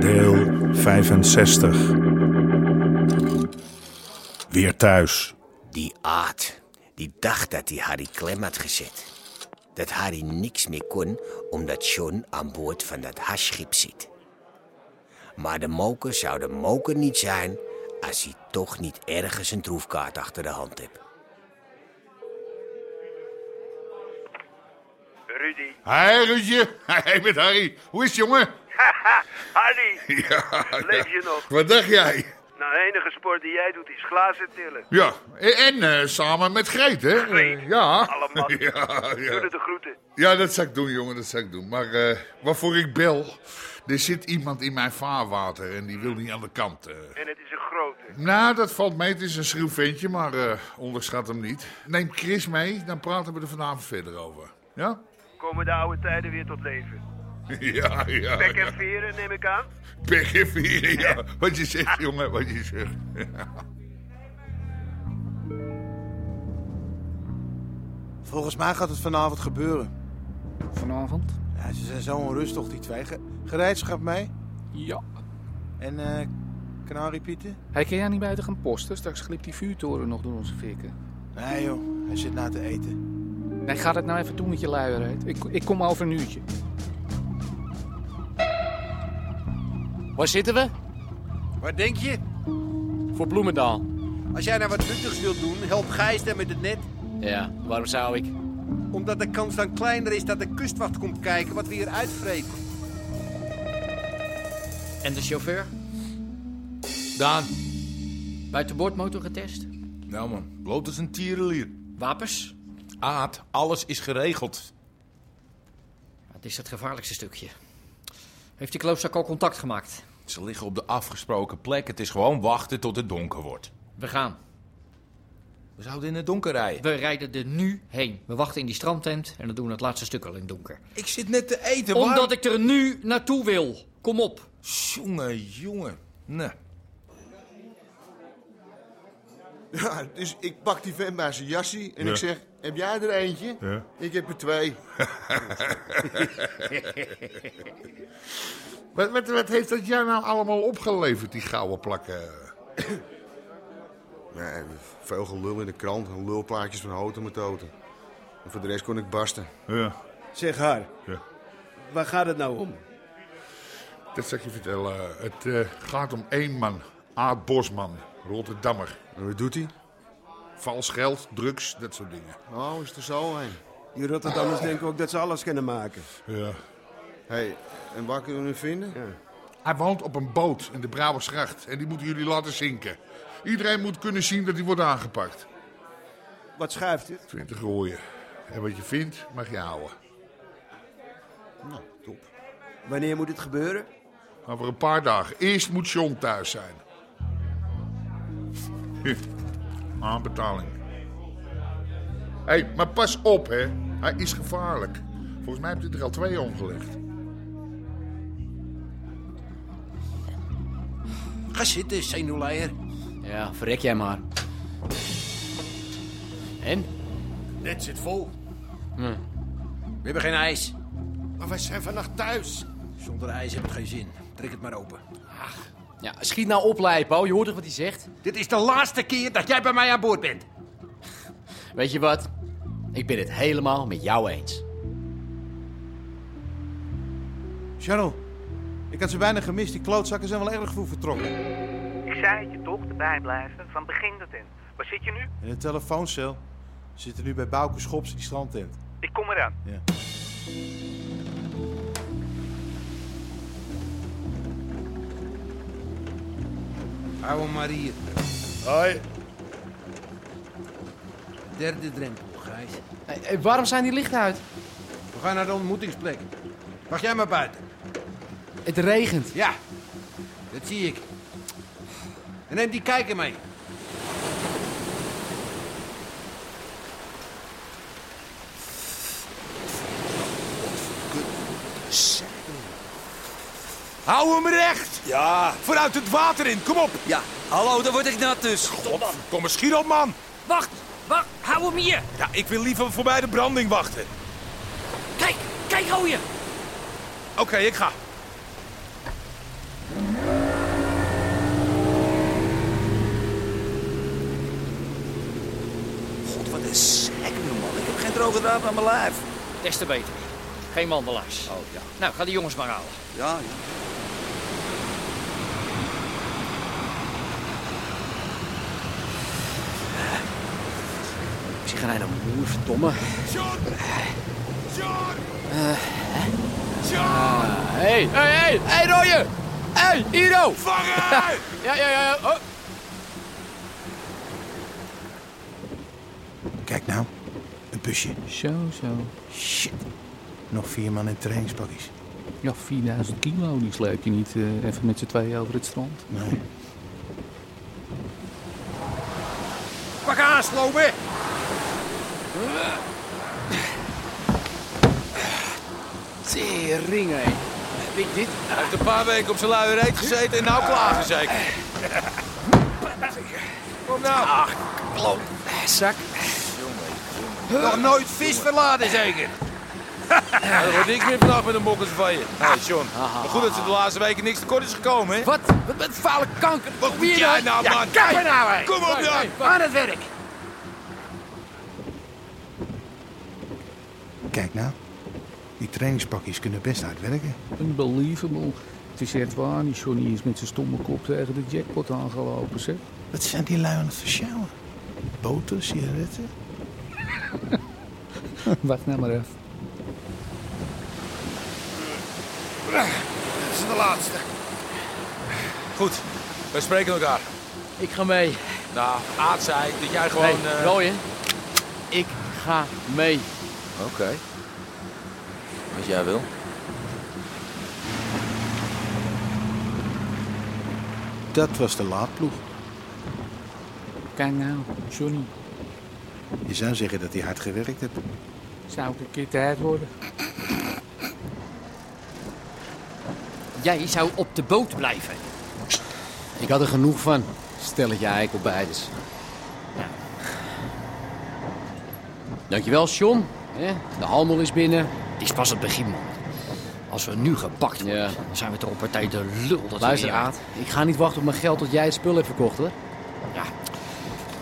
Deel 65. Weer thuis. Die aard, die dacht dat hij Harry klem had gezet. Dat Harry niks meer kon omdat John aan boord van dat haschschip zit. Maar de moker zou de moker niet zijn als hij toch niet ergens een troefkaart achter de hand heeft. Rudy. Hé, Ruudje. Hé, met Harry. Hoe is het, jongen? Harry, Ja, leef je nog? Wat dacht jij? Nou, de enige sport die jij doet is glazen tillen. Ja, en, en, eh, samen met Greet, hè? Greet. Eh, ja. Allemaal. Ja, Doe ja. het de groeten. ja, dat zou ik doen, jongen, dat zou ik doen. Maar eh, waarvoor ik bel, er zit iemand in mijn vaarwater en die wil niet aan de kant. eh. En het is een grote. Nou, dat valt mee. Het is een schroef ventje, maar eh, onderschat hem niet. Neem Chris mee, dan praten we er vanavond verder over. Ja? Komen de oude tijden weer tot leven. Ja, Oh, ja. Bek en ja. veren neem ik aan. Pek en vieren, ja. Wat je zegt, jongen, wat je zegt. Volgens mij gaat het vanavond gebeuren. Vanavond? Ja, ze zijn zo onrustig, die twee. Ge- gereedschap mee. Ja. En eh kanarie Pieter? Hij kan jij niet buiten gaan posten? Straks glipt die vuurtoren nog door onze fikken. Nee joh, hij zit na te eten. Nee, ga dat nou even doen met je luierheid. Ik, ik kom over een uurtje. Waar zitten we? Wat denk je? Voor Bloemendaal. Als jij nou wat nuttigs wilt doen, help Gijs dan met het net. Ja, waarom zou ik? Omdat de kans dan kleiner is dat de kustwacht komt kijken wat we hier uitvreten. En de chauffeur? Daan. Buitenboordmotor getest? Nou man, bloot als een tierenlier. Wapens? Aad, alles is geregeld. Het is het gevaarlijkste stukje. Heeft die klootzak al contact gemaakt? Ze liggen op de afgesproken plek. Het is gewoon wachten tot het donker wordt. We gaan. We zouden in het donker rijden. We rijden er nu heen. We wachten in die strandtent en dan doen we het laatste stuk al in het donker. Ik zit net te eten, Omdat ik er nu naartoe wil. Kom op. Jongen, jongen. Nee. Ah, Ja, dus ik pak die vent bij zijn jassie en Ja. ik zeg... Heb jij er eentje? Ja. Ik heb er twee. Wat, wat, wat heeft dat jou nou allemaal opgeleverd, die gouden plakken? Nee, veel gelul in de krant en lulplaatjes van houten met toten. En voor de rest kon ik barsten. Ja, Zeg haar, Ja. waar gaat het nou om? dat zal ik je vertellen. Het eh, gaat om één man. Aad Bosman, Rotterdammer. En wat doet hij? Vals geld, drugs, dat soort dingen. Oh, is er zo een. Die Rotterdammers denken ook dat ze alles kunnen maken. Ja. hey, en waar kunnen we hem vinden? Hij woont op een boot in de Brabantstracht en die moeten jullie laten zinken. Iedereen moet kunnen zien dat hij wordt aangepakt. Wat schuift het? 20 rooien. En wat je vindt, mag je houden. Nou, top. Wanneer moet het gebeuren? Over een paar dagen. Eerst moet John thuis zijn. Hier, Aanbetaling. Hé, hey, maar pas op, hè. Hij is gevaarlijk. Volgens mij heb je er al twee omgelegd. Ga zitten, zenuwleier. Ja, verrek jij maar. En? Net zit vol. We hebben geen ijs. Maar wij zijn vannacht thuis. Zonder ijs heb het geen zin. Trek het maar open. Ja, schiet nou op, Leipo. Je hoort toch wat hij zegt? Dit is de laatste keer dat jij bij mij aan boord bent. Weet je wat? Ik ben het helemaal met jou eens. Charles, ik had ze bijna gemist. Die klootzakken zijn wel erg vroeg vertrokken. Ik zei het je toch, erbij blijven, van begin tot in. Waar zit je nu? En de telefooncel. Ze zitten nu bij Bouke Schops in die strandtent. Ik kom eraan. Ja. Hou hem maar hier. Hoi. Derde drempel, Gijs. Eh, waarom zijn die lichten uit? We gaan naar de ontmoetingsplek. Wacht jij maar buiten. Het regent. Ja, dat zie ik. En neem die kijker mee. Hou hem recht! Ja, Vooruit het water in, kom op! ja. Hallo, daar word ik nat dus. God, Kom eens, schiet op, man. wacht, wacht, hou hem hier. Ja, ik wil liever voorbij de branding wachten. Kijk, kijk, hou je. Oké, ik ga. God, wat een sekkel, man. Ik heb geen droge draad aan mijn lijf. Des te beter. Geen mandelaars. Oh, ja. Nou, ga die jongens maar halen. Ja, ja. Misschien gaan hij naar moer, verdomme. Eh, John! John! Hé, hé, hé! Hé, Royer! Hé, Iro! Vangen! Ja, ja, ja. Oh. Kijk nou, een busje. Zo, zo. Shit. Nog vier man in trainingspakjes. Ja, 4000 kilo, die sleep je niet eh, even met z'n tweeën over het strand. Nee. Pak aan, Slobe! Tering, hé. Heb ik dit? Hij heeft een paar weken op zijn luie reet gezeten en nou klagen zeker. Kom nou. Ach, klop. Zak. Nog nooit vis verlaten zeker. Ja, dat wordt niks meer vandaag met een bokkers van je. Hé, John. Maar goed dat ze de laatste weken niks tekort is gekomen, hè? Wat? Wat met vuile kanker? Wat moet jij nou, Ja, man? kap er nou, hé. Kom op, dan. Aan het werk. Kijk nou, die trainingspakjes kunnen best hard werken. Unbelievable. Het is echt waar, die Johnny is met zijn stomme kop tegen de jackpot aangelopen, zeg. Wat zijn die lui aan het versjouwen? Boter, sigaretten? Wacht nou maar even. Dit is de laatste. Goed, wij spreken elkaar. Ik ga mee. Nou, Aad zei dat jij gewoon... hey, eh, Royer. Ik ga mee. Oké. Als jij wil. Dat was de laadploeg. Kijk nou, Johnny. Je zou zeggen dat hij hard gewerkt heeft. Zou het een keer tijd worden? Jij zou op de boot blijven. Ik had er genoeg van. Stelletje eikelbeiders. Ja. Dankjewel, John. Hè, De handel is binnen. Het is pas het begin, man. Als we nu gepakt worden, dan zijn we toch een partij de lul. Dat Luister, we hier- Aad. Ik ga niet wachten op mijn geld tot jij het spul hebt verkocht, hoor. Ja.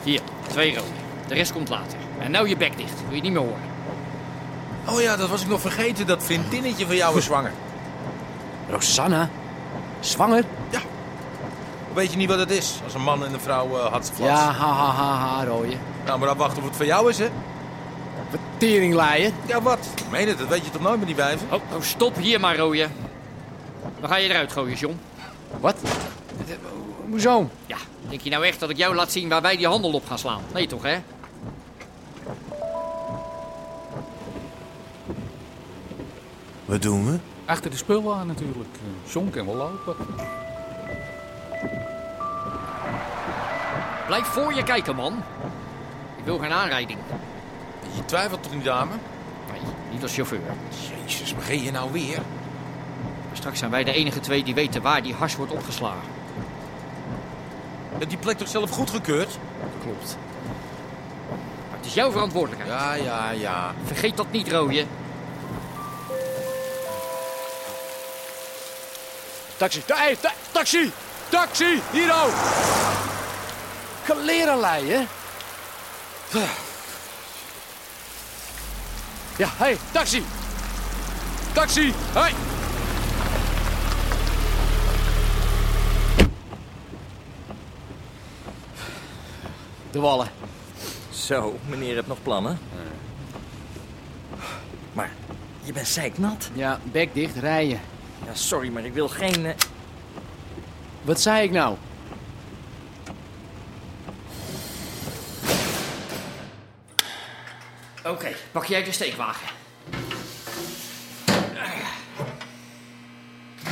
Hier, twee rode. De rest komt later. En nou je bek dicht. Wil je het niet meer horen. Oh ja, dat was ik nog vergeten. Dat vriendinnetje van jou is zwanger. Rosanna? Zwanger? Weet je niet wat het is? Als een man en een vrouw eh had ze flats. Ja, ha, ha, ha, ha, rooie. Nou, maar dan wachten of het van jou is, hè? Teringleier. Ja, wat? Ik meen het, dat weet je toch nooit met die wijven? Oh, oh, stop hier maar, rooie. We gaan je eruit gooien, John. Wat? Hoezo? Ja, denk je nou echt dat ik jou laat zien waar wij die handel op gaan slaan? Nee toch, hè? Wat doen we? Achter de spullen aan natuurlijk. Eh, John kan wel lopen. Blijf voor je kijken, man. Ik wil geen aanrijding. Je twijfelt toch niet, dame? Nee, niet als chauffeur. Jezus, begin je nou weer? Straks zijn wij de enige twee die weten waar die hars wordt opgeslagen. Je hebt die plek toch zelf goedgekeurd? Klopt. Maar het is jouw verantwoordelijkheid. Ja, ja, ja. Vergeet dat niet, rooie. Taxi. Hey, ta- taxi! Taxi! Hiro! Klerenlei, hè? Ja, hé, hey, taxi! Taxi! Hé! Hey. De wallen. Zo, meneer hebt nog plannen. Maar je bent zeiknat. Ja, bek dicht, rijden. Ja, sorry, maar ik wil geen... eh, Wat zei ik nou? Oké, pak jij de steekwagen.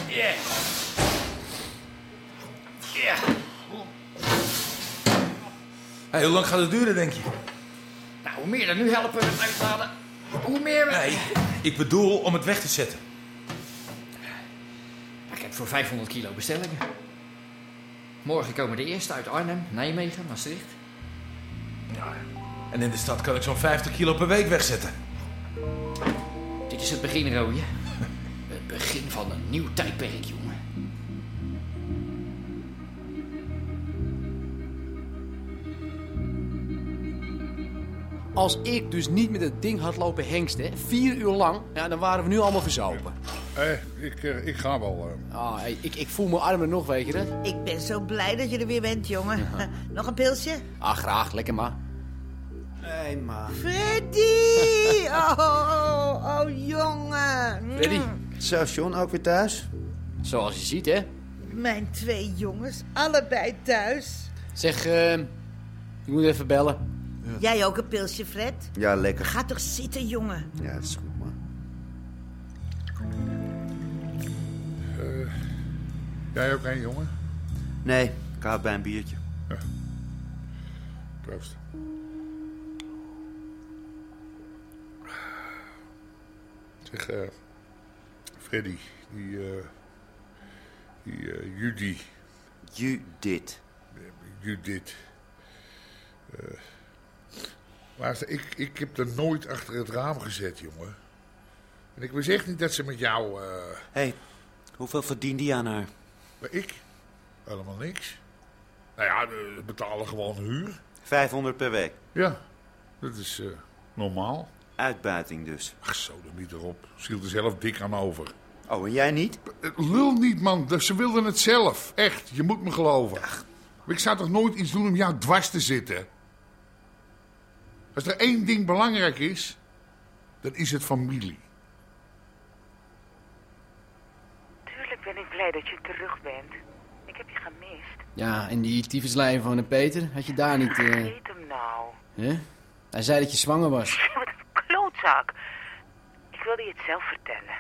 Ja. Ja. Hey, hoe lang gaat het duren, denk je? Nou, hoe meer er nu helpen met uitladen, hoe meer we... Nou, Nee, ik bedoel om het weg te zetten. Ik heb voor 500 kilo bestellingen. Morgen komen de eerste uit Arnhem, Nijmegen, Maastricht. En in de stad kan ik zo'n 50 kilo per week wegzetten. Dit is het begin, Rooie. Het begin van een nieuw tijdperk, jongen. Als ik dus niet met het ding had lopen hengsten, vier uur lang, ja, dan waren we nu allemaal verzopen. Eh, ik, eh, ik ga wel. eh. Ah, hey, ik, ik voel mijn armen nog, weet je dat? Ik ben zo blij dat je er weer bent, jongen. Ja. Nog een pilsje? Ah, graag, lekker maar. Nee, maar. Freddy! Oh, oh, oh, jongen. Freddy. Zo, John, ook weer thuis? Zoals je ziet, hè? Mijn twee jongens, allebei thuis. Zeg, eh, ik moet even bellen. Jij ook een pilsje, Fred? Ja, lekker. Ga toch zitten, jongen. Ja, dat is goed, man. Eh, jij ook een jongen? Nee, ik hou bij een biertje. Proost. Zeg, eh, Freddy, die, eh, die eh, Judy. Judith. Judith. Eh, luister, ik, ik heb er nooit achter het raam gezet, jongen. En ik wist echt niet dat ze met jou... eh, Hé, hey, hoeveel verdient die aan haar? maar ik? Helemaal niks. Nou ja, we betalen gewoon huur. 500 per week. Ja, dat is eh, normaal. Uitbuiting dus. Ach, zo, dan niet erop. Ze hield er zelf dik aan over. Oh, en jij niet? Lul niet, man. Dat- Ze wilden het zelf. Echt, je moet me geloven. Ik zou toch nooit iets doen om jou dwars te zitten? Als er één ding belangrijk is, dan is het familie. Tuurlijk ben ik blij dat je terug bent. Ik heb je gemist. Ja, en die tyfuslijn van de Peter, had je daar niet... eh, Vergeet hem nou. hè? Hij zei dat je zwanger was. Wat een klootzak. Ik wilde je het zelf vertellen.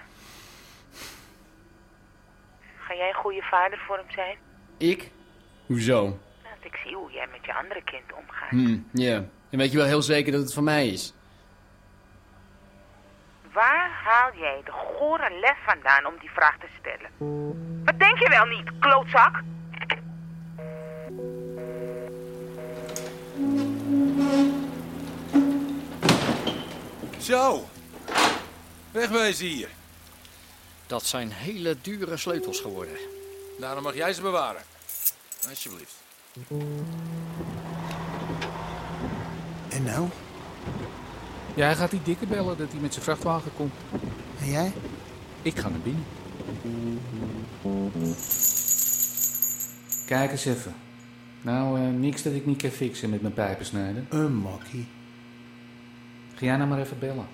Ga jij een goede vader voor hem zijn? Ik? Hoezo? Want ik zie hoe jij met je andere kind omgaat. Hm, ja. En weet je wel heel zeker dat het van mij is? Waar haal jij de gore lef vandaan om die vraag te stellen? Wat denk je wel niet, klootzak? Zo. Wegwezen hier. Dat zijn hele dure sleutels geworden. Daarom Nou, mag jij ze bewaren. Alsjeblieft. En nou? Ja, hij gaat die dikke bellen dat hij met zijn vrachtwagen komt. En jij? Ik ga naar binnen. Kijk eens even. Nou, eh, niks dat ik niet kan fixen met mijn pijpensnijder. Een makkie. Ga jij nou maar even bellen.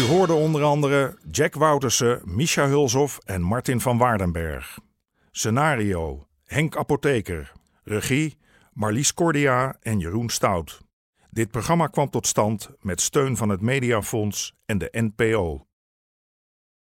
U hoorde onder andere Jack Woutersen, Misha Hulshoff en Martin van Waardenberg. Scenario: Henk Apotheker. Regie: Marlies Cordia en Jeroen Stout. Dit programma kwam tot stand met steun van het Mediafonds en de NPO.